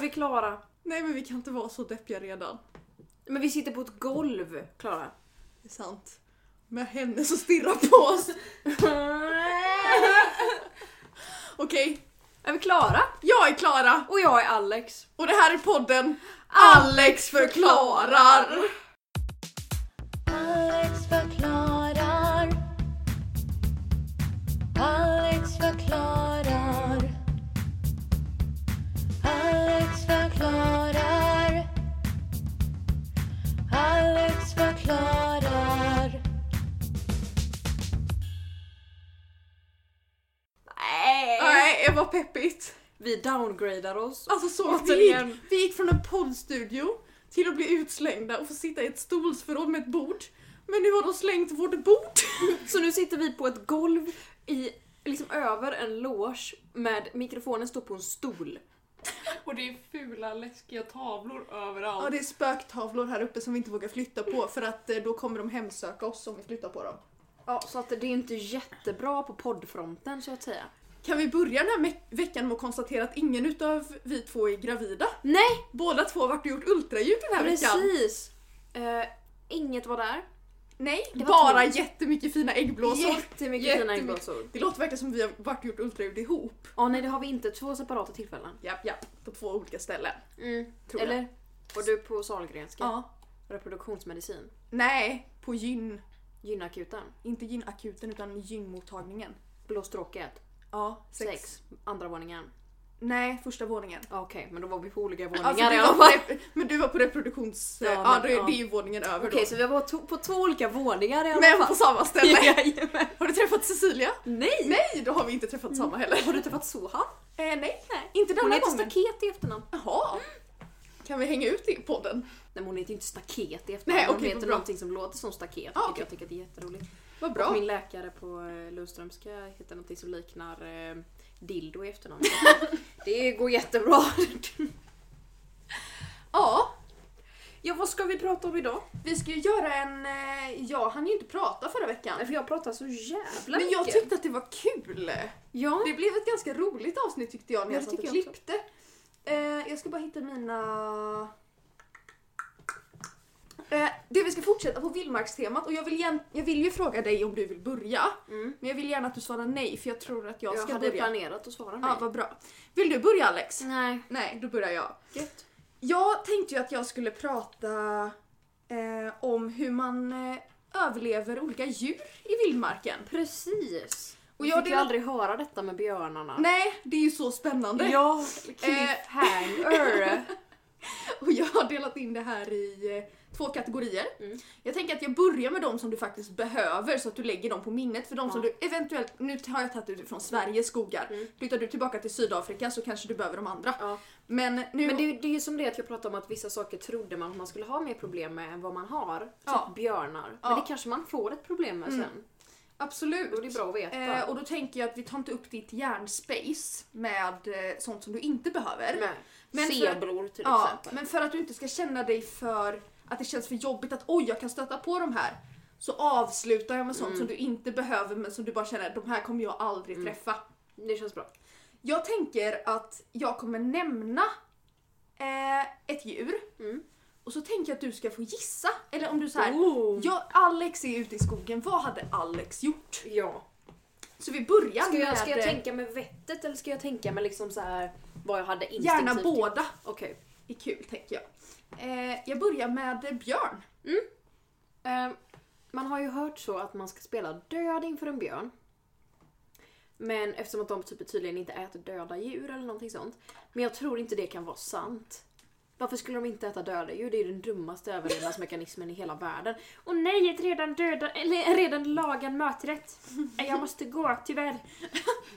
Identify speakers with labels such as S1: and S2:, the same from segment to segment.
S1: vi klara.
S2: Nej men vi kan inte vara så deppiga redan.
S1: Men vi sitter på ett golv, Klara.
S2: Det är sant. Med henne som stirrar på oss. Okej,
S1: Är vi klara?
S2: jag är Klara
S1: Och jag är Alex.
S2: och det här är podden Alex förklarar.
S3: Alex förklarar. Alex förklarar. Alex förklarar. Alex förklarar.
S1: Nej.
S2: Nej, det var peppigt.
S1: Vi downgradar oss.
S2: Alltså så vi
S1: Återigen.
S2: gick, vi gick från en poddstudio till att bli utslängda och få sitta i ett stolsförråd med ett bord. Men nu har de slängt vårt bord.
S1: Så nu sitter vi på ett golv i, liksom över en loge med mikrofonen står på en stol.
S4: Och det är fula läskiga tavlor överallt.
S2: Ja, det är spöktavlor här uppe som vi inte vågar flytta på för att eh, då kommer de hemsöka oss om vi flyttar på dem.
S1: Ja, så att det är inte jättebra på poddfronten så att säga.
S2: Kan vi börja den här me- veckan med att konstatera att ingen utav vi två är gravida?
S1: Nej,
S2: Båda två har varit och gjort ultraljud den här veckan.
S1: precis! Eh, inget var där.
S2: Nej,
S1: Det var
S2: bara
S1: tomt.
S2: jättemycket fina äggblåsor.
S1: Jättemycket fina
S2: Jättemycket.
S1: äggblåsor.
S2: Det låter verkligen som vi har varit och gjort ultraljud ihop.
S1: Ja, nej det har vi inte. Två separata tillfällen.
S2: Japp, japp. På två olika ställen.
S1: Mm,
S2: Tror jag.
S1: Eller? Och du på Sahlgrenska?
S2: Ja.
S1: Reproduktionsmedicin?
S2: Nej, på gyn.
S1: Gynakuten?
S2: Inte gynakuten utan gynmottagningen.
S1: Blåstråket?
S2: Ja, sex.
S1: Sex. Andra våningen?
S2: Nej, första våningen.
S1: Ja, Okej, men då var vi på olika våningar
S2: Alltså,
S1: i
S2: du
S1: alla
S2: var
S1: fall.
S2: på rep- men du var på reproduktions...
S1: Ja,
S2: Ja,
S1: men-
S2: då är,
S1: ja.
S2: det är ju våningen över
S1: Okej, så vi var to- på två olika våningar i
S2: då.
S1: alla
S2: Men på
S1: fall.
S2: samma ställe.
S1: Jajamän.
S2: Har du träffat Cecilia?
S1: Nej!
S2: Nej, då har vi inte träffat samma heller.
S1: Har du träffat Sohan?
S2: Eh, nej,
S1: Mm. Nej.
S2: inte
S1: Hon
S2: denna
S1: heter Mm.
S2: gången.
S1: Staket i efternamn.
S2: Jaha. Kan vi hänga ut det i podden?
S1: Nej men hon heter ju inte Staket i efternamn.
S2: Nej,
S1: hon
S2: okej,
S1: heter
S2: vad bra.
S1: någonting som låter som staket.
S2: Ah,
S1: vilket
S2: okej.
S1: Jag tycker det är jätteroligt.
S2: Vad bra.
S1: Min läkare på eh, Lundströmska heter någonting som liknar eh, dildo i efternamn. det går jättebra.
S2: Ja,
S1: ja, vad ska vi prata om idag?
S2: vi ska ju göra en... eh, Jag hann ju inte prata förra veckan.
S1: Nej, för jag pratar så jävla
S2: Men jag
S1: mycket.
S2: tyckte att det var kul.
S1: ja.
S2: Det blev ett ganska roligt avsnitt tyckte jag när
S1: Ja,
S2: jag
S1: det
S2: satt och
S1: tycker jag också.
S2: klippte. Eh, jag ska bara hitta mina... Eh, det vi ska fortsätta på vildmarkstemat och jag vill, gärna, jag vill ju fråga dig om du vill börja.
S1: Mm.
S2: Men jag vill gärna att du svarar nej för jag tror att jag,
S1: Jag,
S2: ska
S1: hade
S2: börja.
S1: planerat att svara nej. Mm.
S2: Ja, vad bra. Vill du börja Alex?
S1: Nej.
S2: Nej, då börjar jag.
S1: Gött.
S2: Jag tänkte ju att jag skulle prata eh, om hur man eh, överlever olika djur i vildmarken.
S1: Precis.
S2: Och
S1: Och jag
S2: jag
S1: fick ju
S2: delar-
S1: aldrig höra detta med björnarna.
S2: Nej, det är ju så spännande.
S1: Ja, Eh, cliffhanger.
S2: Och jag har delat in det här i eh, två kategorier.
S1: Mm.
S2: Jag tänker att jag börjar med de som du faktiskt behöver så att du lägger dem på minnet. För de som
S1: Ja.
S2: du eventuellt, nu har jag tagit ut från Sveriges skogar.
S1: Mm.
S2: Flyttar du tillbaka till Sydafrika så kanske du behöver de andra.
S1: Ja.
S2: Men nu...
S1: Men det, är- det är ju som det att jag pratade om att vissa saker trodde man att man skulle ha mer problem med än vad man har. Typ
S2: Ja.
S1: björnar.
S2: Ja.
S1: Men det kanske man får ett problem med
S2: Mm.
S1: sen.
S2: Absolut.
S1: Då är det bra att veta.
S2: Eh, och då tänker jag att vi tar inte upp ditt hjärnspace med eh, sånt som du inte behöver.
S1: med
S2: Men för-
S1: zebror till
S2: ja,
S1: exempel.
S2: men för att du inte ska känna dig för att det känns för jobbigt att oj jag kan stöta på de här. Så avslutar jag med sånt
S1: Mm.
S2: som du inte behöver men som du bara känner de här kommer jag aldrig
S1: Mm.
S2: träffa.
S1: Det känns bra.
S2: Jag tänker att jag kommer nämna eh, ett djur
S1: Mm.
S2: och så tänker jag att du ska få gissa. Eller om du så här,
S1: Oh.
S2: jag, Alex är ute i skogen, vad hade Alex gjort?
S1: Ja.
S2: Så vi börjar
S1: Ska jag,
S2: med
S1: ska jag
S2: eh,
S1: tänka med vettet eller ska jag tänka med liksom så här vad jag hade instinktivt?
S2: gärna båda.
S1: Okej.
S2: är kul tänker jag. Eh, jag börjar med eh, björn.
S1: Eh, man har ju hört så att man ska spela död inför en björn. Men eftersom att de typ tydligen inte äter döda djur eller någonting sånt. Men jag tror inte det kan vara sant. Varför skulle de inte äta döda djur? Det är ju den dummaste överlevnadsmekanismen i hela världen. Och nej, ett redan döda, eller redan lagad maträtt. Nej, Jag måste gå, tyvärr.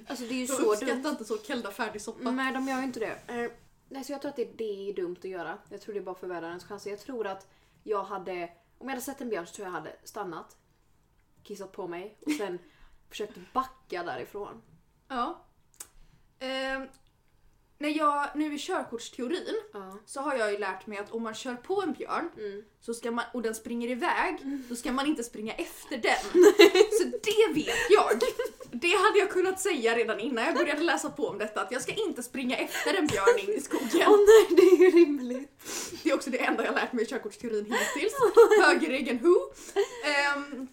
S1: Alltså det är ju
S2: Jag
S1: så dumt.
S2: uppskattar inte så kelda färdigsoppa.
S1: Nej, de gör ju inte det. Eh, Nej, så jag tror att det, det är dumt att göra. Jag tror det bara förvärrar ens chanser. Jag tror att jag hade, om jag hade sett en björn så tror jag jag hade stannat, kissat på mig och sen försökt backa därifrån.
S2: Ja. Eh, när jag, nu i körkortsteorin
S1: Ja.
S2: så har jag ju lärt mig att om man kör på en björn
S1: Mm.
S2: så ska man, och den springer iväg, då ska man inte springa efter den. Så det vet jag. Det hade jag kunnat säga redan innan jag började läsa på om detta, att jag ska inte springa efter en björn in i skogen.
S1: nej, det
S2: körkortsteorin hittills. Högerregeln who. Ehm,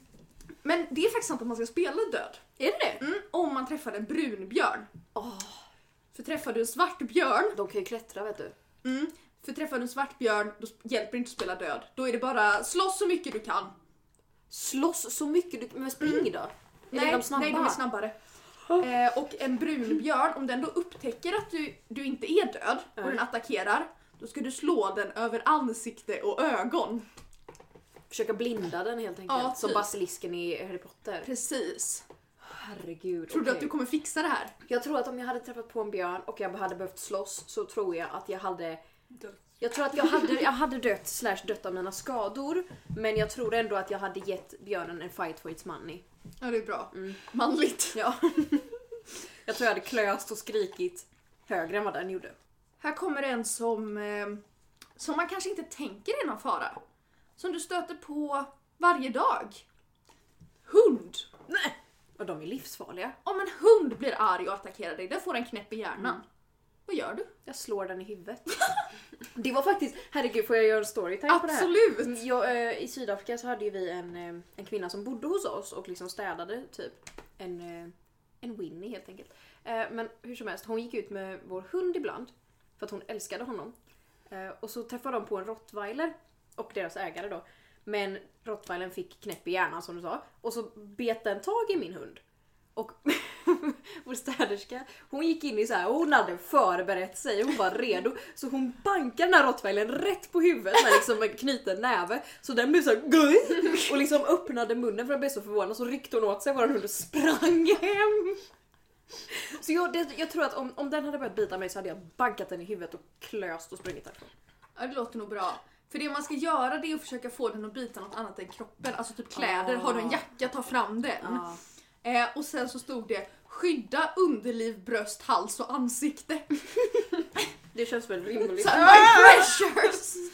S2: men det är faktiskt sant att man ska spela död.
S1: Är det det?
S2: Mm, om man träffar en brunbjörn.
S1: Åh,
S2: För träffar du en svart björn,
S1: de kan ju klättra vet du.
S2: mm, för träffar du en svart björn, då sp- hjälper det inte att spela död. Då är det bara slåss så mycket du kan.
S1: Slåss så mycket du Men spring då! Är
S2: Mm. Nej,
S1: det de snabba?
S2: nej, de är snabbare. Eh, och en brunbjörn, om den då upptäcker att du, du inte är död
S1: Ja.
S2: och den attackerar, då ska du slå den över ansikte och ögon.
S1: Försöka blinda den helt enkelt.
S2: Ja,
S1: Som
S2: typ.
S1: basilisken i Harry Potter.
S2: Precis.
S1: Herregud.
S2: Tror du
S1: okej.
S2: att du kommer fixa det här?
S1: Jag tror att om jag hade träffat på en björn och jag hade behövt slåss så tror jag att jag hade
S4: Dött.
S1: Jag tror att jag hade, jag hade dött slash dött av mina skador men jag tror ändå att jag hade gett björnen en fight for its money.
S2: Ja, det är bra.
S1: Mm.
S2: Manligt.
S1: Ja. jag tror jag hade klöst och skrikit högre än vad den gjorde.
S2: Här kommer en som, eh, som man kanske inte tänker är någon fara. Som du stöter på varje dag. Hund.
S1: Och de är livsfarliga.
S2: Om en hund blir arg och attackerar dig, den får en knäpp i hjärnan.
S1: Mm.
S2: Vad gör du?
S1: Jag slår den i huvudet. det var faktiskt, herregud får jag göra en storytime på det här?
S2: Absolut!
S1: Mm, Jag, eh, I Sydafrika så hade ju vi en, eh, en kvinna som bodde hos oss och liksom städade typ. En, eh, en Winnie helt enkelt. Eh, men hur som helst, hon gick ut med vår hund ibland. För att hon älskade honom. Eh, och så träffade de på en rottweiler och deras ägare då. Men rottweilern fick knäpp i hjärnan som du sa. Och så bet den tag i min hund. Och vår städerska, hon gick in i så här, och hon hade förberett sig, hon var redo. Så hon bankade den här rottweilern rätt på huvudet med liksom en knuten näve. Så den blev så här, "Guj!" och liksom öppnade munnen för att bli så förvånad. Så ryckte hon åt sig vår hund och sprang hem. Så jag, det, jag tror att om, om den hade börjat bita mig så hade jag bankat den i huvudet och klöst och sprungit därifrån.
S2: Ja, det låter nog bra. För det man ska göra det är att försöka få den att bita något annat än kroppen, alltså typ kläder.
S1: Ah.
S2: Har du en jacka, ta fram den. Eh, och sen så stod det skydda underliv, bröst, hals och ansikte.
S1: Det känns väl rimligt.
S2: Så här, my
S1: Ah!
S2: pressures!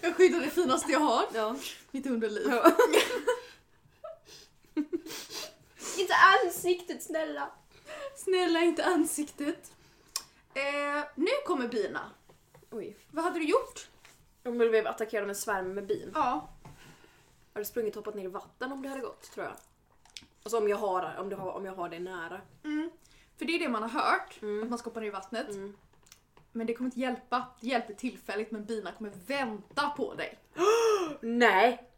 S2: Jag skyddar det finaste jag har,
S1: Ja.
S2: mitt underliv.
S1: Inte ansiktet snälla!
S2: Snälla inte ansiktet. Eh, nu kommer bina.
S1: Oj.
S2: Vad hade du gjort?
S1: Om du blev attackerad av en svärm med bin.
S2: Ja,
S1: Jag hade sprungit och hoppat ner i vatten om det hade gått tror jag. Alltså om jag har, om det har, om jag har det nära.
S2: Mm. För det är det man har hört,
S1: Mm.
S2: att man skoppar ner i vattnet.
S1: Mm.
S2: Men det kommer inte hjälpa. Det hjälper tillfälligt men bina kommer vänta på dig.
S1: Nej!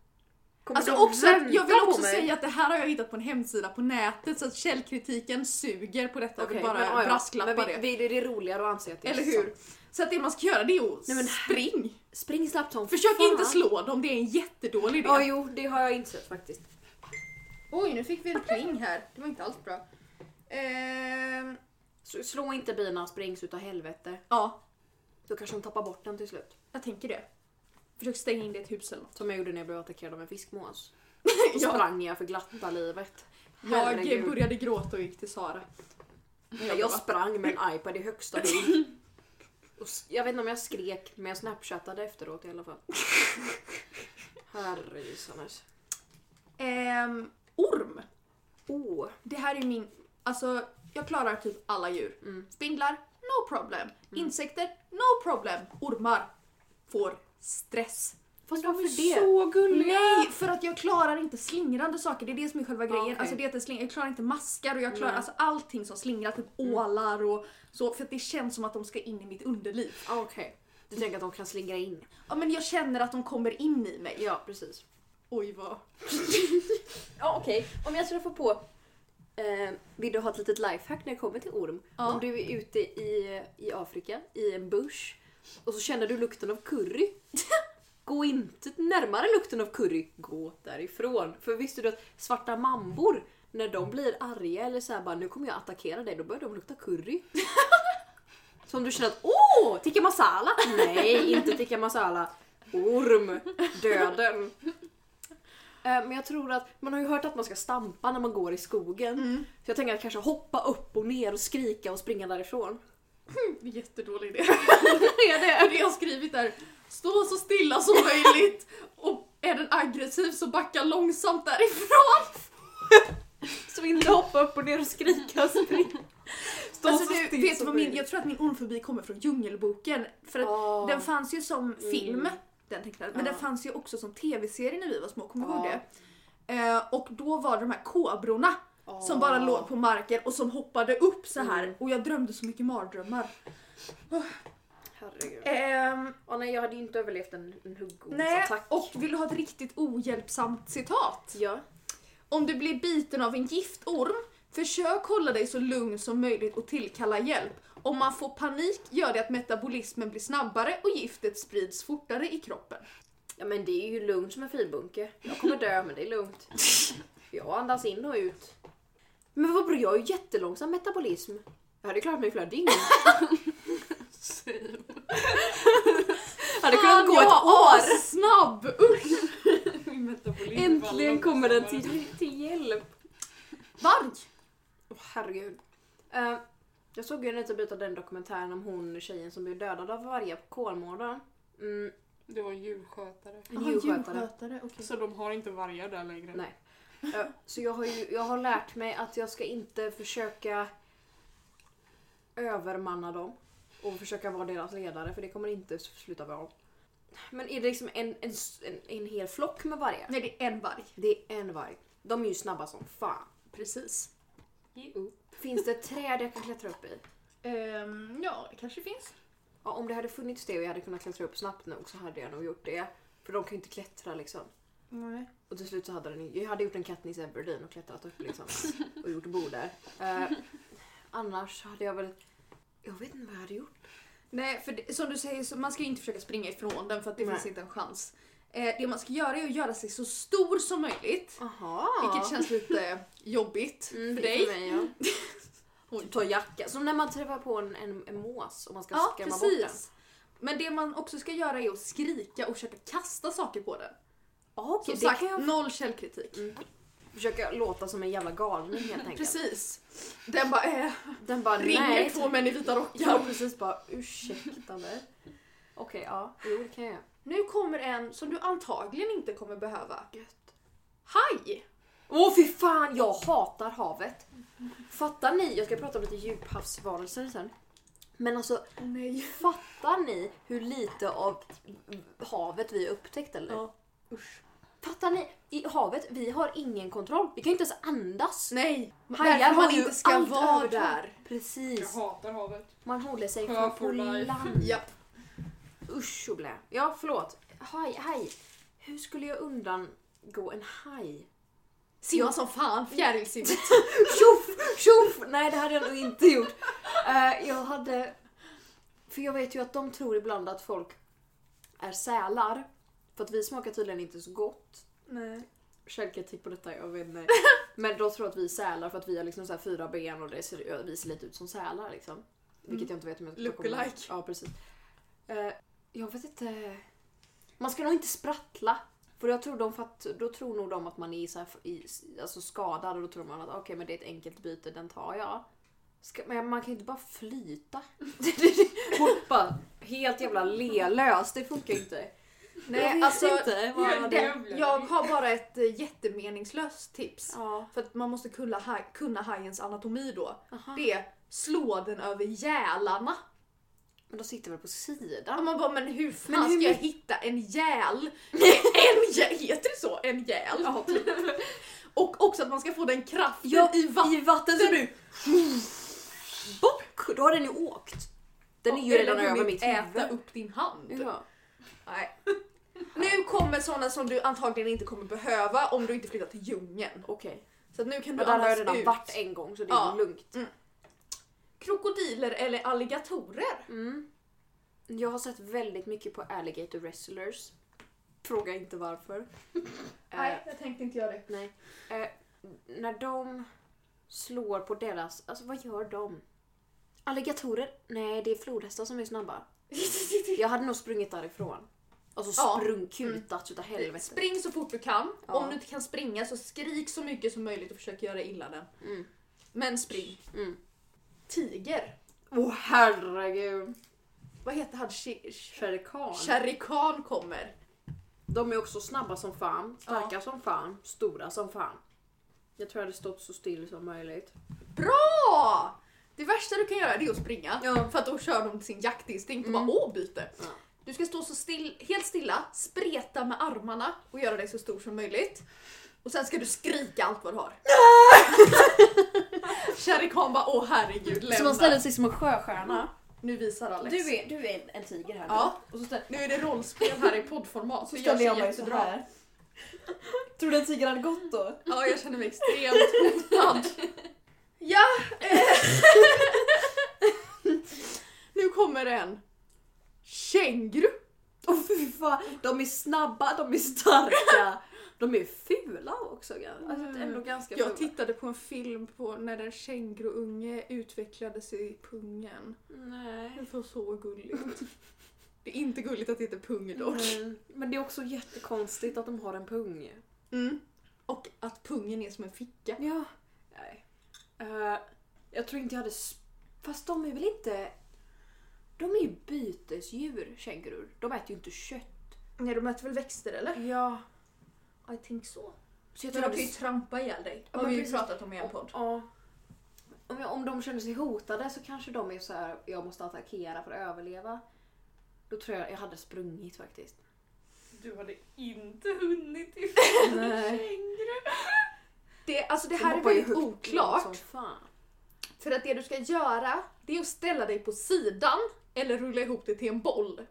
S1: Kommer
S2: Alltså
S1: de
S2: också,
S1: vänta
S2: jag vill
S1: på
S2: också
S1: mig?
S2: säga att det här har jag hittat på en hemsida på nätet så att källkritiken suger på detta.
S1: Okej,
S2: jag vill bara
S1: ja, ja.
S2: brasklappa
S1: men vi,
S2: det.
S1: Vi, det är roligare att anse att det är
S2: Eller
S1: sant.
S2: hur? Så att det man ska göra det är att
S1: Nej, men-
S2: spring!
S1: Spring snabbt som
S2: Försök
S1: fan.
S2: inte slå dem, det är en jättedålig idé.
S1: Ja, jo, det har jag insett faktiskt.
S2: Oj, nu fick vi en pling här. Det var inte alls bra. Ehm,
S1: Så slå inte bina, springs utav helvete.
S2: ja,
S1: Då kanske de tappar bort den till slut.
S2: jag tänker det. Försök stänga in det i ett hus eller något.
S1: Som jag gjorde när jag blev attackerad av en fiskmås. Då
S2: Ja.
S1: sprang jag för glatta livet.
S2: Jag
S1: Herregud.
S2: började gråta och gick till Sara.
S1: Jag, jag sprang med en iPad i högsta höjd. Och s- Jag vet inte om jag skrek, men jag snapchattade efteråt i alla fall. Herrejössanes.
S2: Ehm, orm.
S1: Oh,
S2: Det här är min... Alltså, jag klarar typ alla djur.
S1: Mm.
S2: Spindlar, no problem. Insekter, no problem. Ormar får stress.
S1: fast
S4: De
S1: varför
S4: är
S1: det?
S4: så gulliga!
S2: Nej, för att jag klarar inte slingrande saker. Det är det som är själva grejen.
S1: okej.
S2: Alltså, det är att jag, sling- jag klarar inte maskar och jag klarar
S1: Nej.
S2: alltså, allting som slingrar. Typ ålar och så. För att det känns som att de ska in i mitt underliv.
S1: Ah, Okej. Du tänker att de kan slingra in?
S2: Ja, men jag känner att de kommer in i mig.
S1: Ja, precis.
S2: Oj vad...
S1: Ja, okej. Om jag träffar på... Eh, vill du ha ett litet lifehack när det kommer till orm?
S2: Ja.
S1: Om du är ute i, i Afrika, i en bush, och så känner du lukten av curry. Gå inte närmare lukten av curry, gå därifrån. För visste du att svarta mambor, när de blir arga eller såhär bara nu kommer jag attackera dig, då börjar de lukta curry. Så om du känner att åh, tikka masala! Nej, inte tikka masala. Orm. Döden. Eh, Men jag tror att man har ju hört att man ska stampa när man går i skogen. Så jag tänker att kanske hoppa upp och ner och skrika och springa därifrån.
S2: Jättedålig idé.
S1: är
S2: För det jag har skrivit är stå så stilla som möjligt och är den aggressiv så backa långsamt därifrån.
S1: Så inte hoppa upp och ner och skrika och springa. Stå
S2: Alltså,
S1: så
S2: du,
S1: still
S2: vet du
S1: som
S2: vad min,
S1: möjligt.
S2: jag tror att min ormfobi kommer från Djungelboken för att
S1: Ah.
S2: den fanns ju som film den tecknade. Men
S1: Ja.
S2: den fanns ju också som tv-serie när vi var små, kommer du ihåg
S1: Ja.
S2: det? Eh, och då var det de här kobrorna som bara låg på marken och som hoppade upp så här
S1: Mm.
S2: och jag drömde så mycket mardrömmar.
S1: Herregud.
S2: Ehm,
S1: Åh nej, jag hade ju inte överlevt en, en
S2: nej,
S1: huggormsattack.
S2: och vill du ha ett riktigt ohjälpsamt citat?
S1: Ja.
S2: Om du blir biten av en giftorm, försök hålla dig så lugn som möjligt och tillkalla hjälp. Om man får panik gör det att metabolismen blir snabbare och giftet sprids fortare i kroppen.
S1: ja, men det är ju lugnt som en filbunke. Jag kommer dö, men det är lugnt. Jag andas in och ut. Men vad bra, jag har ju jättelångsam metabolism. Jag hade klarat mig i flera dygn.
S4: Same.
S1: Jag hade kunnat gå ett år!
S2: år! Snabb! Usch.
S4: Min metabolism
S1: Äntligen
S4: var
S1: kommer den
S4: långsammare.
S1: till, till hjälp.
S2: Varg!
S1: Åh herregud. Eh, jag såg ju en liten bit av den dokumentären om hon tjejen som blev dödad av vargar på Kolmården. Mm,
S4: Det var en djurskötare.
S1: en djurskötare.
S4: Så de har inte vargar där längre.
S1: Nej. Ja, Så jag har, ju, jag har lärt mig att jag ska inte försöka övermanna dem och försöka vara deras ledare för det kommer inte sluta bra. Men är det liksom en, en, s- en, en hel flock med vargar?
S2: Nej, det är en varg.
S1: Det är en varg. De är ju snabba som fan.
S2: Precis.
S4: Jo.
S1: Finns det ett träd jag kan klättra upp i?
S2: Ehm, ja, det kanske finns.
S1: Ja, om det hade funnits det och jag hade kunnat klättra upp snabbt nog så hade jag nog gjort det. För de kan ju inte klättra liksom.
S2: Nej.
S1: Och till slut så hade den, jag hade gjort en Katniss Everdeen och klättrat upp liksom. Och gjort bo där. Eh, annars hade jag väl... Jag vet inte vad jag hade gjort.
S2: Nej, för det, som du säger, så man ska ju inte försöka springa ifrån den för att det
S1: Nej.
S2: finns inte en chans. Eh, det man ska göra är att göra sig så stor som möjligt.
S1: Aha.
S2: Vilket känns lite jobbigt
S1: mm,
S2: för
S1: det är
S2: dig.
S1: För mig, ja. Hon tar jacka. Som när man träffar på en, en, en mås och man ska
S2: Ja,
S1: skrämma bort den.
S2: precis. Men det man också ska göra är att skrika och försöka kasta saker på den.
S1: Ja,
S2: Som
S1: okej. Det
S2: sagt,
S1: kan jag
S2: noll källkritik.
S1: Mm. försöka låta som en jävla galning helt enkelt.
S2: Precis. Den bara eh,
S1: Den bara
S2: ringer
S1: nej.
S2: två män i vita rockar.
S1: Ja precis bara ursäkta mig. Okej ja, jo det kan jag göra.
S2: Nu kommer en som du antagligen inte kommer behöva.
S1: Gött.
S2: Haj!
S1: Åh fy fan, jag hatar havet. Fattar ni? Jag ska prata om lite djuphavsvarelser sen. Men alltså,
S2: Nej.
S1: fattar ni hur lite av havet vi har upptäckt eller?
S2: Ja.
S1: Usch. Fattar ni? I havet, vi har ingen kontroll. Vi kan inte ens andas.
S2: Nej!
S1: Hajar
S2: Därför
S1: har
S2: man
S1: ju
S2: inte ska
S1: allt
S2: vara
S1: övertag.
S2: där.
S4: Jag
S1: Precis.
S4: hatar havet.
S1: Man håller sig
S4: Ja,
S1: på
S4: for life.
S1: land.
S2: Ja.
S1: Usch och blä. Ja, förlåt. Haj, haj. Hur skulle jag undangå en haj?
S2: Simma som fan, fjärilsimmet.
S1: Tjoff! Tjoff! Nej, det hade jag nog inte gjort. Eh, jag hade... För jag vet ju att de tror ibland att folk är sälar. För att vi smakar tydligen inte så gott.
S2: Nej.
S1: Källkritik på detta, jag vet inte. Men de tror att vi är sälar för att vi har liksom så här fyra ben och det ser, vi ser lite ut som sälar liksom. Vilket jag inte vet om jag
S2: Mm. Look
S1: kommer-
S2: alike.
S1: Ja, precis. Eh, jag vet inte... Man ska nog inte sprattla. För jag tror de fatt, då tror nog de att man är så här, i, alltså skadad och då tror man att okej men det är ett enkelt byte, den tar jag. Ska, men man kan ju inte bara flyta. Hoppa helt jävla lelös, det funkar ju inte.
S2: Nej, alltså,
S1: inte vad jag
S4: hur
S1: hade-
S4: det-
S2: den, jag har bara ett eh, jättemeningslöst tips.
S1: Ja.
S2: För att man måste kunna, haj, kunna hajens anatomi då.
S1: Aha.
S2: Det är slå den över gälarna.
S1: Men de sitter väl på
S2: Ja,
S1: sidan?
S2: man bara, men hur fan
S1: Men hur
S2: ska jag
S1: mycket-
S2: hitta en gäl? en gäl, heter det så? En gäl?
S1: typ
S2: och också att man ska få den kraften i vattnet.
S1: I vatten så du... Bock! Då har den ju åkt. Den är ju
S2: Eller
S1: redan över
S2: hunnit
S1: mitt
S2: äta
S1: huvud.
S2: upp din hand.
S1: Ja.
S2: Nej. Nu kommer sådana som du antagligen inte kommer behöva om du inte flyttar till djungeln.
S1: Okej.
S2: Så att nu kan du
S1: Men där har jag
S2: andas
S1: redan
S2: ut.
S1: varit en gång så det är
S2: Ja.
S1: lugnt.
S2: Krokodiler eller alligatorer?
S1: Mm. Jag har sett väldigt mycket på alligator wrestlers. Fråga inte varför. Eh,
S2: jag tänkte inte göra det.
S1: nej. Eh, när de slår på deras... Alltså vad gör de? Alligatorer? Nej, det är flodhästar som är snabba. Jag hade nog sprungit därifrån. Alltså
S2: Ja.
S1: sprung, kutat utav helvete.
S2: Spring så fort du kan.
S1: Ja.
S2: Om du inte kan springa så skrik så mycket som möjligt och försök göra illa den.
S1: Mm.
S2: Men spring.
S1: Mm.
S2: Tiger.
S1: Åh oh, herregud.
S2: Vad heter han? Shi- Shi-
S1: Sherikan.
S2: Shere Khan kommer.
S1: De är också snabba som fan, starka som fan, stora som fan. Jag tror jag hade stått så still som möjligt.
S2: Bra! Det värsta du kan göra det är att springa.
S1: Ja. Mm.
S2: För att då kör de sin jaktinstinkt och bara åh byte. Du ska stå så still, helt stilla, spreta med armarna och göra dig så stor som möjligt. Och sen ska du skrika allt vad du har. Sherry Khan bara åh herregud
S1: Så man
S2: lämna.
S1: ställer sig som en sjöstjärna.
S2: Nu visar Alex.
S1: Du är, du är en tiger här
S2: Ja.
S1: nu. Och så ställer,
S2: Nu är det rollspel här i poddformat.
S1: så
S2: det
S1: ställer
S2: sig
S1: jag mig så
S2: jättebra.
S1: här. Tror du en tiger hade gått då?
S2: Ja, jag känner mig extremt hotad. Ja! eh. nu kommer en känguru.
S1: Åh fy fan, de är snabba, de är starka. De är fula också. gan- Alltså, ändå ganska
S2: Jag
S1: fula.
S2: tittade på en film på när en känguruunge utvecklades i pungen.
S1: Nej.
S2: Det var så gulligt. Det är inte gulligt att det heter pung dock.
S1: Mm. Men det är också jättekonstigt att de har en pung.
S2: Mm. Och att pungen är som en ficka.
S1: Ja. Nej. Eh, jag tror inte jag hade... Sp- Fast de är väl inte... De är ju bytesdjur, kängurur. De äter ju inte kött.
S2: Nej, de äter väl växter eller?
S1: Ja.
S2: I think so.
S1: Så jag tror
S2: De
S1: jag
S2: kan
S1: hade
S2: ju
S1: sp-
S2: trampa ihjäl dig.
S1: Ja,
S2: har
S1: men
S2: vi ju
S1: precis.
S2: pratat om i en podd.
S1: Ja. Om, jag, om de känner sig hotade så kanske de är så här, jag måste attackera för att överleva. Då tror jag jag hade sprungit faktiskt.
S4: Du hade inte hunnit ifrån en
S1: Nej.
S4: känguru.
S2: Det, alltså det
S1: De
S2: här är
S1: hoppar ju
S2: väldigt
S1: högt långt
S2: oklart.
S1: Som fan.
S2: För att det du ska göra, det är att ställa dig på sidan eller rulla ihop det till en boll.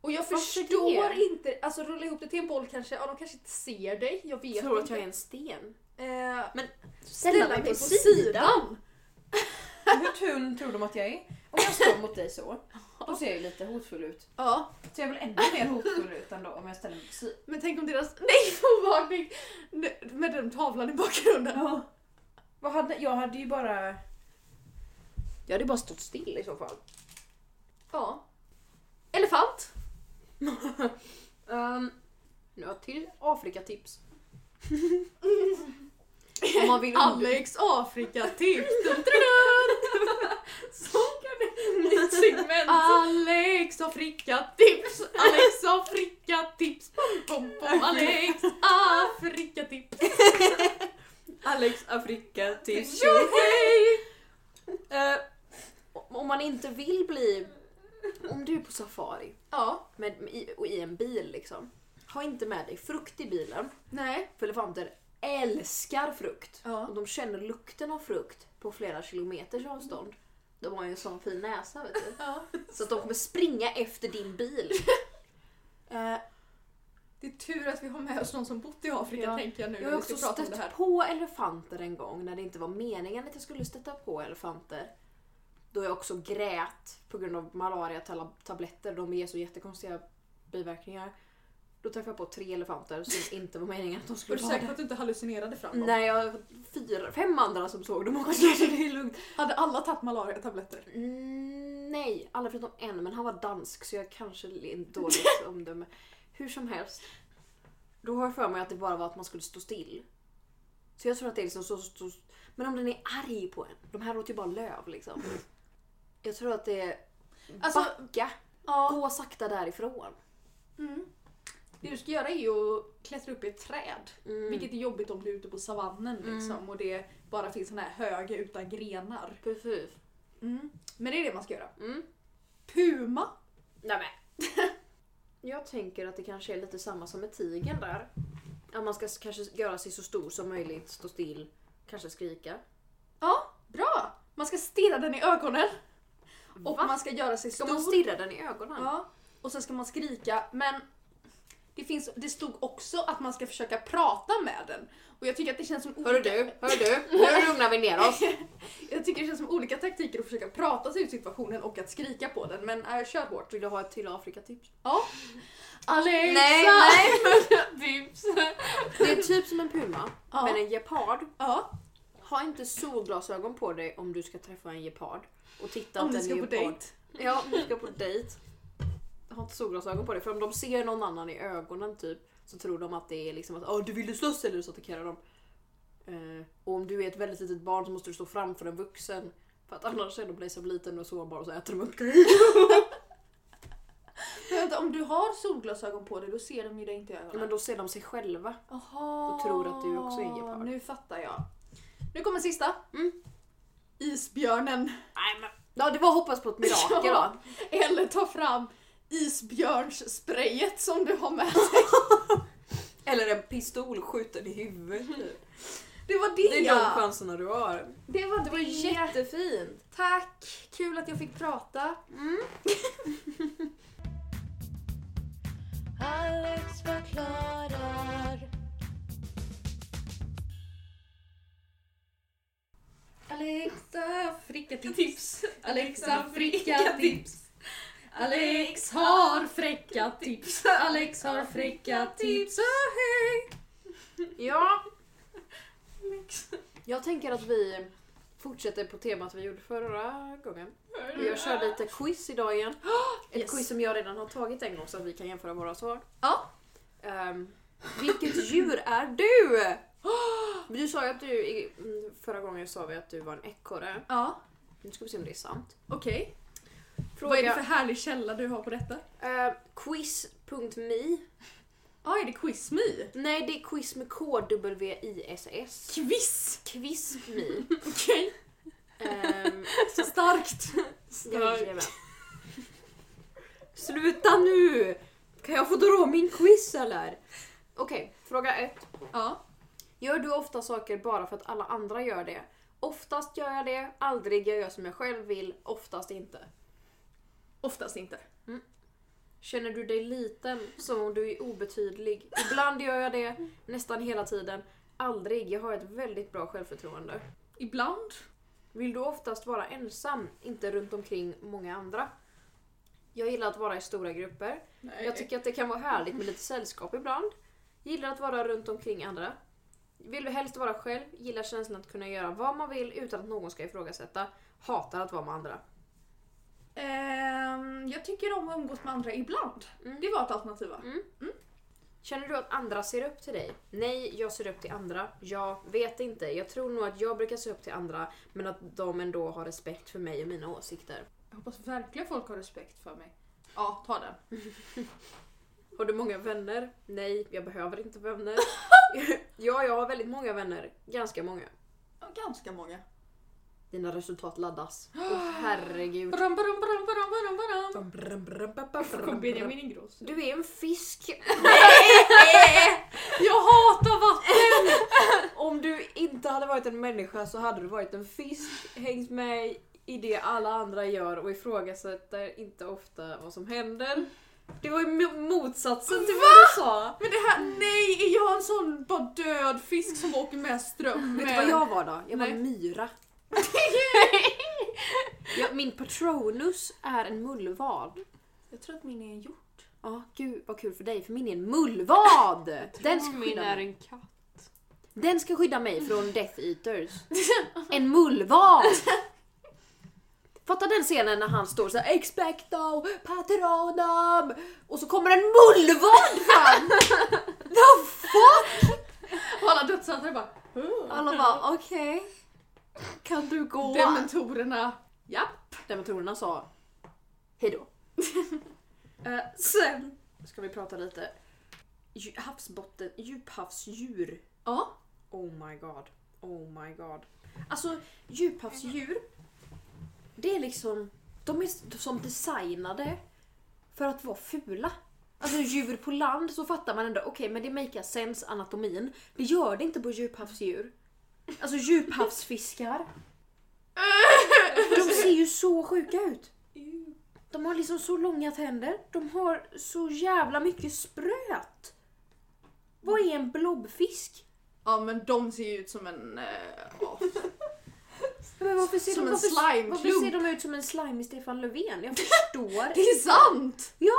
S2: Och jag
S1: Varför
S2: förstår
S1: det?
S2: inte, alltså rulla ihop det till en boll kanske, ja de kanske inte ser dig, jag vet
S1: Jag tror att
S2: inte.
S1: jag är en sten.
S2: Eh,
S1: Men
S2: ställa dig på sidan!
S1: Hur tunn tror de att jag är? Om jag står mot dig så, då ser jag ju lite hotfull ut.
S2: Ja,
S1: Så jag är väl ännu mer hotfull ut ändå om jag ställer mig på sidan.
S2: men tänk om deras, nej förvarning! Nej, Med den tavlan i bakgrunden.
S1: Vad hade, jag hade ju bara... Jag hade bara stått still i så fall.
S2: Ja. Elefant!
S1: Um, nu har jag till Afrikatips. om man vill under...
S2: Alex Afrika-tips!
S4: Som kan det bli ett segment.
S2: Alex Afrika-tips! Alex Afrika-tips! Pom, pom, pom. Alex Afrika-tips!
S1: Alex Afrikatips.
S2: Tjohej!
S1: Eh, om- om man inte vill bli... Om du är på safari
S2: Ja,
S1: med, med, i, och i en bil liksom. Ha inte med dig frukt i bilen.
S2: nej.
S1: För elefanter älskar frukt.
S2: Ja.
S1: Och de känner lukten av frukt på flera kilometers avstånd. De har ju en sån fin näsa vet du.
S2: ja.
S1: Så att de kommer springa efter din bil. Eh,
S2: Det är tur att vi har med oss någon som bott i Afrika
S1: Ja.
S2: tänker jag nu
S1: Jag
S2: när
S1: har
S2: vi ska
S1: också
S2: prata om det här.
S1: stött på elefanter en gång när det inte var meningen att jag skulle stöta på elefanter. Då jag också grät på grund av malariatabletter. De ger så jättekonstiga biverkningar. Då träffade jag på tre elefanter som inte var meningen att de
S2: Är
S1: skulle
S2: du
S1: vara
S2: säker på
S1: där.
S2: att du inte hallucinerade fram dem?
S1: Nej, jag har fyra, fem andra som såg dem också. så Det är lugnt.
S2: Hade alla tagit malariatabletter?
S1: Mm, nej, alla förutom en, men han var dansk så jag kanske inte dåligt omdöme. Hur som helst. Då har jag för mig att det bara var att man skulle stå still. Så jag tror att det är liksom så, så, så Men om den är arg på en. De här låter ju bara löv liksom. Jag tror att det är
S2: Alltså,
S1: backa.
S2: ja.
S1: Gå sakta därifrån.
S2: Mm. Det du ska göra är ju att klättra upp i ett träd.
S1: Mm.
S2: Vilket är jobbigt om du är ute på savannen liksom, och det bara finns såna här höga utan grenar. Mm.
S1: Precis.
S2: Men det är det man ska göra.
S1: Mm.
S2: Puma.
S1: Nej, men. jag tänker att det kanske är lite samma som med tigern där. Att man ska s- kanske göra sig så stor som möjligt, stå still, kanske skrika.
S2: Ja, bra! Man ska stirra den i ögonen. Och
S1: Va?
S2: man ska göra sig
S1: Ska
S2: stor.
S1: man stirra den i ögonen?
S2: ja. Och sen ska man skrika, men det, finns, det stod också att man ska försöka prata med den. Och jag tycker att det känns som
S1: Hör
S2: olika,
S1: du, hör du, nu lugnar vi ner oss.
S2: jag tycker det känns som olika taktiker att försöka prata sig ur situationen och att skrika på den. Men äh, kör hårt.
S1: Vill du ha ett till Afrikatips?
S2: Ja. Alexa!
S4: Tips.
S1: Det är typ som en puma,
S2: Ja.
S1: men en gepard.
S2: Ja.
S1: Ha inte solglasögon på dig om du ska träffa en gepard. Och titta
S2: Om
S1: att
S2: ni
S1: den
S2: ska
S1: är
S2: på
S1: gepard.
S2: dejt.
S1: Ja, om du ska på dejt. Ha inte solglasögon på dig, för om de ser någon annan i ögonen typ så tror de att det är liksom att "Åh, du vill du slåss eller så attackerar de. Eh, och om du är ett väldigt litet barn så måste du stå framför en vuxen. För att annars är de dig som liten och sårbar och så äter de upp dig.
S2: Men Vänta, om du har solglasögon på dig då ser de ju dig inte i ögonen.
S1: Men då ser de sig själva.
S2: Aha,
S1: Då tror att du också är en gepard.
S2: Nu fattar jag. Nu kommer sista.
S1: Mm.
S2: Isbjörnen.
S1: Nej men. Ja det var hoppas på ett mirakel
S2: Ja.
S1: då.
S2: Eller ta fram isbjörnssprayet som du har med dig.
S5: Eller en pistol skjuten i huvudet. typ.
S2: Det var det!
S5: Det är de chanserna du har.
S2: det var
S5: Det var jättefint.
S2: Tack! Kul att jag fick prata.
S3: Alex förklarar.
S5: Alexa, fricka
S4: Tips!
S5: Alexa, fricka tips. Alex har fräcka tips. Alex har fräcka tips.
S1: Ja. Jag tänker att vi fortsätter på temat vi gjorde förra gången. Jag kör lite quiz idag igen. Ett
S2: Mm. Yes.
S1: quiz som jag redan har tagit en gång så att vi kan jämföra våra svar.
S2: Ja.
S1: Ehm, vilket djur är du? Du sa ju att du, i- mm, förra gången sa vi att du var en ekorre.
S2: Ja,
S1: Nu ska vi se om det är sant.
S2: okej. Vad är det
S1: Fråga
S2: för härlig källa du har på detta?
S1: ehm, quiz.me.
S2: Ja, Ah, är det QuizMe?
S1: Nej det är quiz med K W I S S.
S2: Quiz!
S1: Quiz.me.
S2: Okej,
S1: Ehm,
S2: så starkt!
S1: Jajamän. Sluta nu! Kan jag få dra min quiz eller? Okej, fråga ett.
S2: Ja.
S1: Gör du ofta saker bara för att alla andra gör det? Oftast gör jag det, aldrig jag gör som jag själv vill, oftast inte.
S2: Oftast inte.
S1: Känner du dig liten, som om du är obetydlig? Ibland gör jag det, nästan hela tiden. Aldrig, jag har ett väldigt bra självförtroende.
S2: Ibland.
S1: Vill du oftast vara ensam, inte runt omkring många andra? Jag gillar att vara i stora grupper.
S4: Nej.
S1: Jag tycker att det kan vara härligt med lite sällskap ibland. Gillar att vara runt omkring andra. Vill du helst vara själv, gillar känslan att kunna göra vad man vill utan att någon ska ifrågasätta. Hatar att vara med andra.
S2: Ehm, jag tycker om att umgås med andra ibland.
S1: Mm.
S2: Det var ett alternativ va?
S1: Känner du att andra ser upp till dig? Nej, jag ser upp till andra. Jag vet inte. Jag tror nog att jag brukar se upp till andra men att de ändå har respekt för mig och mina åsikter.
S2: Jag hoppas verkligen folk har respekt för mig. Ja, ta den.
S1: Har du många vänner? Nej, jag behöver inte vänner. ja, jag har väldigt många vänner. Ganska många.
S2: Ja, ganska många.
S1: Dina resultat laddas. Åh herregud.
S2: Bram, bram, bram, bram, bram, bram. Kom
S1: Du
S2: Benjamin Ingrosso.
S1: är en fisk.
S2: Jag hatar vatten!
S1: Om du inte hade varit en människa så hade du varit en fisk. Hängt med i det alla andra gör och ifrågasätter inte ofta vad som händer. Det var ju mo- motsatsen till vad du sa.
S2: Men det här, nej! Är jag en sån bara död fisk som åker med strömmen?
S1: Vet du vad jag var då? Jag var
S2: Nej.
S1: en myra. ja, min patronus är en mullvad.
S2: Jag tror att min är en hjort.
S1: Ja, gud vad kul för dig för min är en mullvad! Den ska
S4: min
S1: skydda
S4: är
S1: mig.
S4: en katt.
S1: Den ska skydda mig från Death Eaters. En mullvad! Fatta den scenen när han står så här “Expecto patronum” och så kommer en mullvad fram! The fuck!
S2: Och alla dödsandra bara "Huh."
S1: Alla bara okej. Kan du gå?
S2: Dementorerna. Ja.
S1: Dementorerna sa hejdå. Eh, sen ska vi prata lite dju- havsbotten, djuphavsdjur.
S2: Ja.
S1: Oh my god. Oh my god. Alltså djuphavsdjur, det är liksom... De är s- som designade för att vara fula. Alltså djur på land så fattar man ändå, okej men det makar sense anatomin. Det gör det inte på djuphavsdjur. Alltså djuphavsfiskar. De ser ju så sjuka ut. De har liksom så långa tänder. De har så jävla mycket spröt. Vad är en blobfisk?
S2: Ja men de ser ju ut som en... eh, ja.
S1: Men varför ser,
S2: Som
S1: de,
S2: en
S1: varför,
S2: slimeklump.
S1: varför ser de ut som en slime i Stefan Löfven? Jag förstår
S2: Det är sant!
S1: Ja.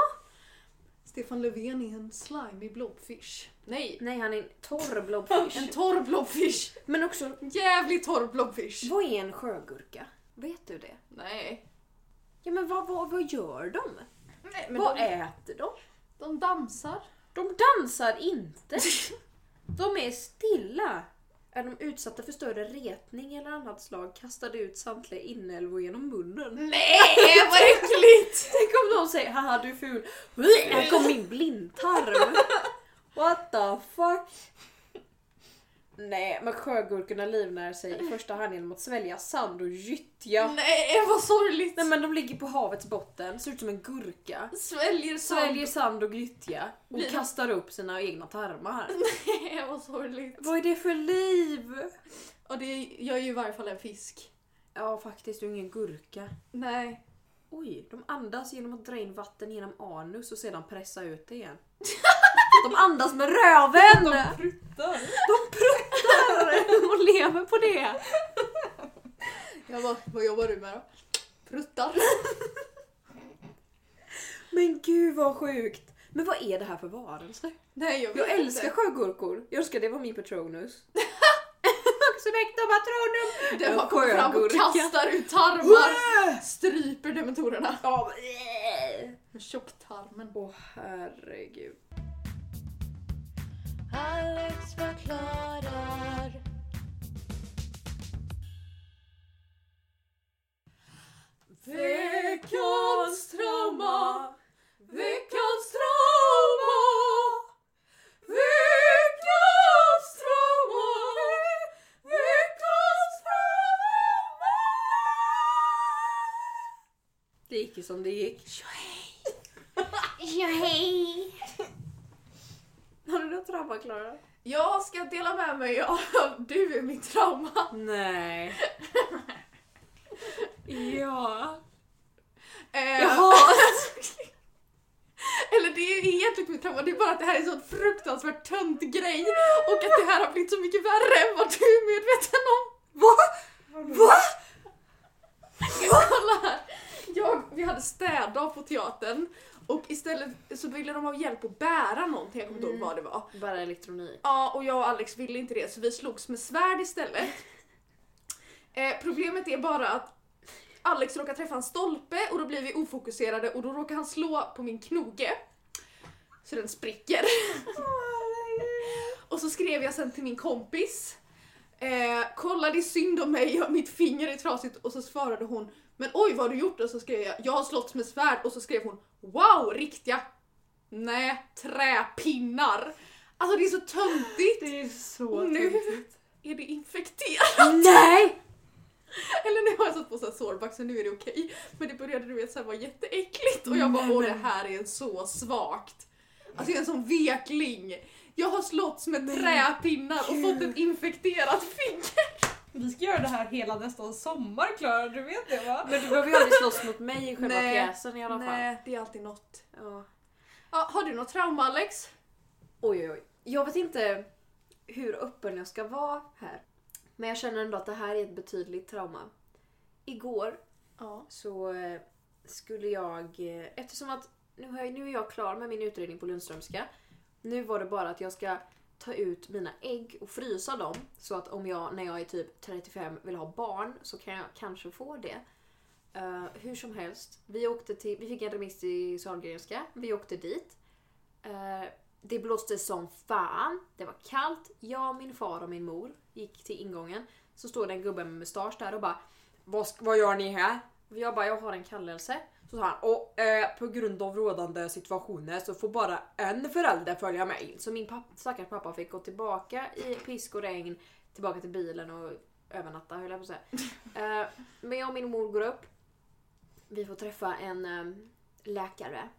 S2: Stefan Löfven är en slimy blobfish. Nej!
S1: Nej, han är en torr
S2: En
S1: blobfish.
S2: torr blobfish!
S1: Men också,
S2: En jävligt torr blobfish!
S1: vad är en sjögurka? Vet du det?
S2: Nej.
S1: Ja men vad, vad, vad gör de?
S2: Nej
S1: vad
S2: de,
S1: äter de?
S2: de dansar.
S1: De dansar inte. De är stilla. Är de utsatta för större retning eller annat slag kastar de ut samtliga inälvor genom munnen.
S2: Nej vad äckligt!
S1: Tänk om de säger haha du är ful, här kom min blindtarm. What the fuck? Nej, men sjögurkorna livnär sig i första hand genom att svälja sand och gyttja.
S2: Nej, vad sorgligt!
S1: Nej men de ligger på havets botten, ser ut som en gurka.
S2: Sväljer
S1: Sväljer
S2: sand.
S1: sand och gyttja och
S2: Blir-
S1: kastar upp sina egna tarmar.
S2: Nej, vad sorgligt.
S1: Vad är det för liv?
S2: Och det, jag är ju i varje fall en fisk.
S1: Ja faktiskt, du är ingen gurka.
S2: Nej.
S1: Oj, de andas genom att dra in vatten genom anus och sedan pressa ut det igen. De andas med röven! De pruttar! De pruttar! Och lever på det!
S2: Jag bara, vad jobbar du med då? Pruttar.
S1: Men gud vad sjukt! Men vad är det här för varelser?
S2: Nej, jag vet
S1: Jag älskar
S2: inte.
S1: sjögurkor. Jag önskar det var min Patronus. Maximecta Patronum!
S2: Den
S1: en
S2: bara kommer fram och
S1: sjögurka.
S2: kastar ut tarmar. Stryper dementorerna.
S1: Ja,
S2: Med tjocktarmen.
S1: Åh herregud.
S3: Alex förklarar.
S2: Eh! Veckans trauma, veckans trauma, veckans trauma, veckans trauma.
S1: Det gick ju som det gick. Har du något trauma Klara?
S2: Jag ska dela med mig av du är mitt trauma.
S1: Nej. ja.
S2: Eh,
S1: Jaha!
S2: Eller det är egentligen mitt trauma, det är bara att det här är en sån fruktansvärt tönt grej och att det här har blivit så mycket värre än vad du är medveten om. Va? Va? Kolla här! Jag, vi hade städdag på teatern och istället så ville de ha hjälp att bära någonting, jag kommer inte ihåg vad det var.
S1: Bara elektronik.
S2: Ja, och jag och Alex ville inte det så vi slogs med svärd istället. Eh, problemet är bara att Alex råkar träffa en stolpe och då blir vi ofokuserade och då råkar han slå på min knoge. Så den spricker. och så skrev jag sen till min kompis. Eh, kolla det är synd om mig, mitt finger är trasigt och så svarade hon men oj vad har du gjort? Och så skrev jag jag har slått med svärd och så skrev hon wow riktiga nej träpinnar. Alltså det är så töntigt.
S1: Det är så
S2: Och nu är det infekterat.
S1: Nej!
S2: Eller nu har jag satt på så här sårback så nu är det okej. Men det började du vet så här vara jätteäckligt och jag bara åh det här är så svagt. Alltså jag är en sån vekling. Jag har slåtts med träpinnar och fått ett infekterat finger.
S5: Vi ska göra det här hela nästa sommar Klara, du vet det va?
S1: Men du behöver ju aldrig slåss mot mig i själva
S2: Nej.
S1: pjäsen i alla fall.
S2: det är alltid något.
S1: Ja.
S2: Ja, har du något trauma Alex?
S1: Oj, oj, oj. Jag vet inte hur öppen jag ska vara här. Men jag känner ändå att det här är ett betydligt trauma. Igår
S2: Ja.
S1: så eh, skulle jag... eh, Eftersom att nu, har jag, nu är jag klar med min utredning på Lundströmska. Nu var det bara att jag ska ta ut mina ägg och frysa dem. Så att om jag när jag är typ 35 vill ha barn så kan jag kanske få det. Eh, hur som helst, vi, åkte till, vi fick en remiss till Sahlgrenska. Vi åkte dit. Eh, det blåste som fan. Det var kallt. Jag, min far och min mor gick till ingången. Så står det en gubbe med mustasch där och bara vad, sk- vad gör ni här? Och jag bara, jag har en kallelse. Så sa han, och eh, på grund av rådande situationer så får bara en förälder följa med in. Så min papp, stackars pappa fick gå tillbaka i pisk och regn, tillbaka till bilen och övernatta höll jag på att säga. Eh, men jag och min mor går upp. Vi får träffa en eh, läkare.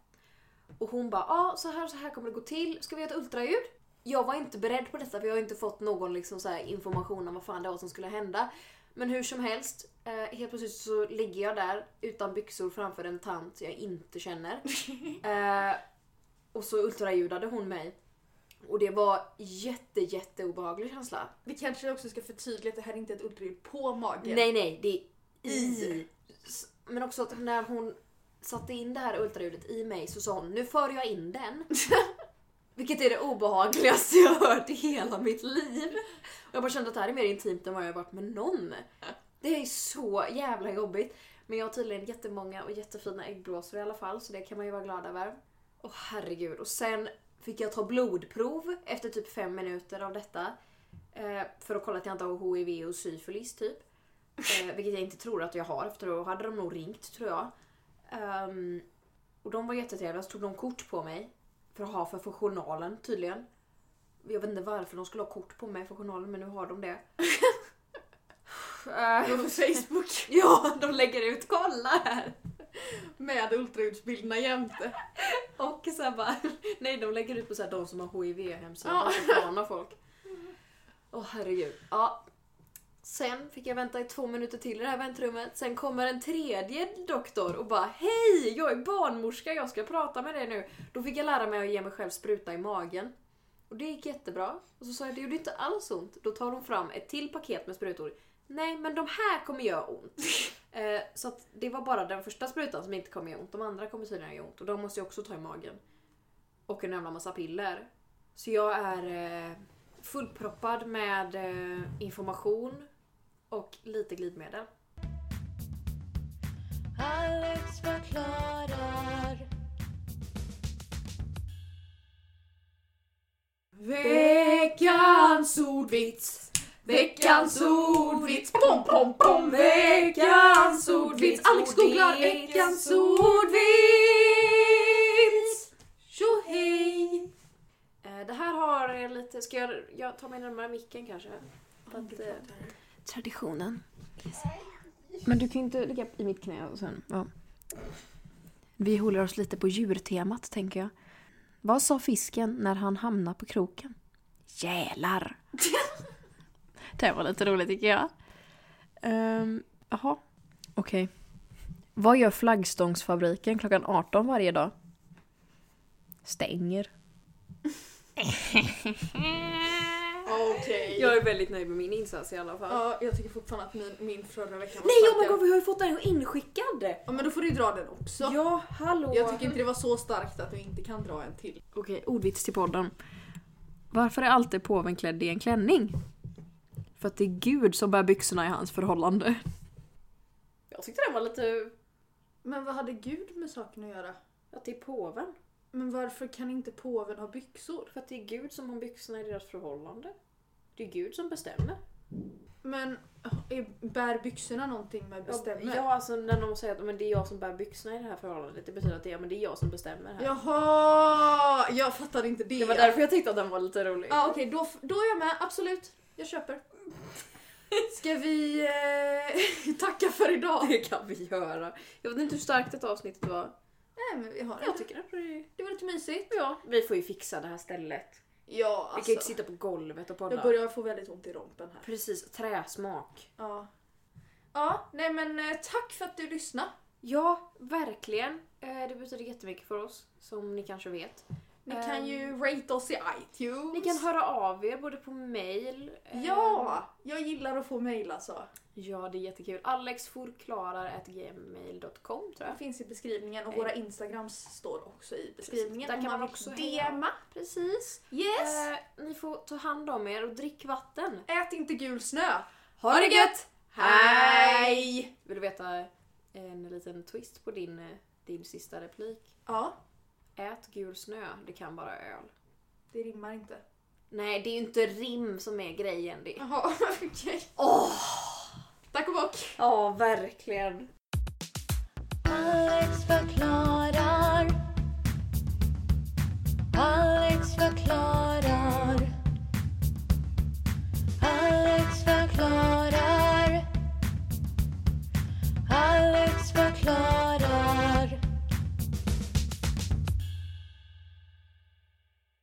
S1: Och hon bara, ja så här så här kommer det gå till. Ska vi göra ett ultraljud? Jag var inte beredd på detta för jag har inte fått någon liksom så här information om vad fan det var som skulle hända. Men hur som helst, eh, helt plötsligt så ligger jag där utan byxor framför en tant jag inte känner. Eh, och så ultraljudade hon mig. Och det var jätte jätte obehaglig känsla.
S2: Vi kanske också ska förtydliga att det här är inte ett ultraljud på magen.
S1: Nej nej, det är i. S- Men också att när hon satte in det här ultraljudet i mig så sa hon nu för jag in den. Vilket är det obehagligaste jag har hört i hela mitt liv. Och jag bara kände att det här är mer intimt än vad jag har varit med någon. Det är så jävla jobbigt. Men jag har tydligen jättemånga och jättefina äggblåsor i alla fall så det kan man ju vara glad över. Åh herregud. Och sen fick jag ta blodprov efter typ fem minuter av detta. Eh, för att kolla att jag inte har HIV och syfilis typ. Eh, vilket jag inte tror att jag har för då hade de nog ringt tror jag. Ehm, och de var jättetrevliga så tog de kort på mig. För att ha för, för journalen tydligen. Jag vet inte varför de skulle ha kort på mig för journalen men nu har de det. Eh,
S2: På Facebook
S1: ja, de lägger ut kolla här!
S2: med ultraljudsbilderna jämte.
S1: Och så här bara, nej de lägger ut på så här, de som har HIV hemsidan
S2: Ja.
S1: och så varnar folk. Åh herregud. Ja. Sen fick jag vänta i två minuter till i det här väntrummet. Sen kommer en tredje doktor och bara Hej! Jag är barnmorska, jag ska prata med dig nu. Då fick jag lära mig att ge mig själv spruta i magen. Och det gick jättebra. Och så sa jag det gjorde inte alls ont. Då tar de fram ett till paket med sprutor. Nej, men de här kommer göra ont. Eh, så att det var bara den första sprutan som inte kommer göra ont. De andra kommer tydligen göra ont och de måste jag också ta i magen. Och en jävla massa piller. Så jag är eh, fullproppad med eh, information och lite glidmedel.
S3: Alex förklarar.
S2: Veckans ordvits! Veckans ordvits! Pom, pom, pom! Veckans ordvits! Alex googlar veckans ordvits! Tjohej!
S1: Eh, det här har eh, lite... Ska jag, jag ta mig närmare micken kanske? För att, eh, traditionen. Men du kan ju inte ligga i mitt knä och sen... Ja. Vi håller oss lite på djurtemat, tänker jag. Vad sa fisken när han hamnade på kroken? Jälar! det var lite roligt, tycker jag. Ehm, Jaha, okej. Vad gör flaggstångsfabriken klockan 18 varje dag? Stänger.
S2: Okej.
S1: Jag är väldigt nöjd med min insats i alla fall.
S2: Ja, jag tycker fortfarande att min, min förra veckan var
S1: Nej oh my
S2: starkare.
S1: god, vi har ju fått den inskickad!
S2: Ja men då får du ju dra den också.
S1: Ja, hallå!
S2: Jag tycker inte det var så starkt att du inte kan dra en till.
S1: Okej, ordvits till podden. Varför är alltid påven klädd i en klänning? För att det är Gud som bär byxorna i hans förhållande. Jag tyckte den var lite...
S2: Men vad hade Gud med saken att göra?
S1: Att det är påven?
S2: Men varför kan inte påven ha byxor?
S1: För att det är Gud som har byxorna i deras förhållande. Det är Gud som bestämmer.
S2: Men är- bär byxorna någonting med bestämmer?
S1: Ja, alltså när någon säger att men det är jag som bär byxorna i det här förhållandet, det betyder att det är, men det är jag som bestämmer här.
S2: Jaha! Jag fattade inte det.
S1: Det var därför jag tyckte att den var lite rolig.
S2: Ja okej, då, f- då är jag med. Absolut. Jag köper. Ska vi eh, tacka för idag?
S1: Det kan vi göra. Jag vet inte hur starkt det avsnittet var.
S2: Nej men vi har det.
S1: Jag tycker att det
S2: Det var lite mysigt.
S1: Ja, vi får ju fixa det här stället.
S2: Ja
S1: Vi kan
S2: alltså.
S1: ju inte sitta på golvet och podda.
S2: Jag börjar få väldigt ont i rompen här.
S1: Precis, träsmak.
S2: Ja. Ja, nej men eh, tack för att du lyssnade.
S1: Ja, verkligen. Eh, Det betyder jättemycket för oss, som ni kanske vet.
S2: Ni
S1: Ehm.
S2: kan ju rate oss i iTunes.
S1: Ni kan höra av er både på mail... eh,
S2: Ja! Jag gillar att få mejl alltså.
S1: Ja, det är jättekul. alexforklarar.gmail.com tror
S2: Den
S1: jag.
S2: finns i beskrivningen och
S1: Ehm.
S2: våra Instagrams står också i beskrivningen.
S1: Där
S2: om
S1: kan man
S2: vill
S1: också hänga.
S2: DMa.
S1: Precis.
S2: Yes!
S1: Eh, Ni får ta hand om er och drick vatten.
S2: Ät inte gul snö.
S1: Ha det gött!
S2: Hej!
S1: Vill du veta en liten twist på din, eh, din sista replik?
S2: Ja,
S1: Ät gul snö, det kan bara öl.
S2: det rimmar inte.
S1: Nej, det är ju inte rim som är grejen. det.
S2: Jaha, okej.
S1: Åh!
S2: Tack och bock!
S1: Ja, verkligen.
S3: Alex förklarar. Alex förklarar.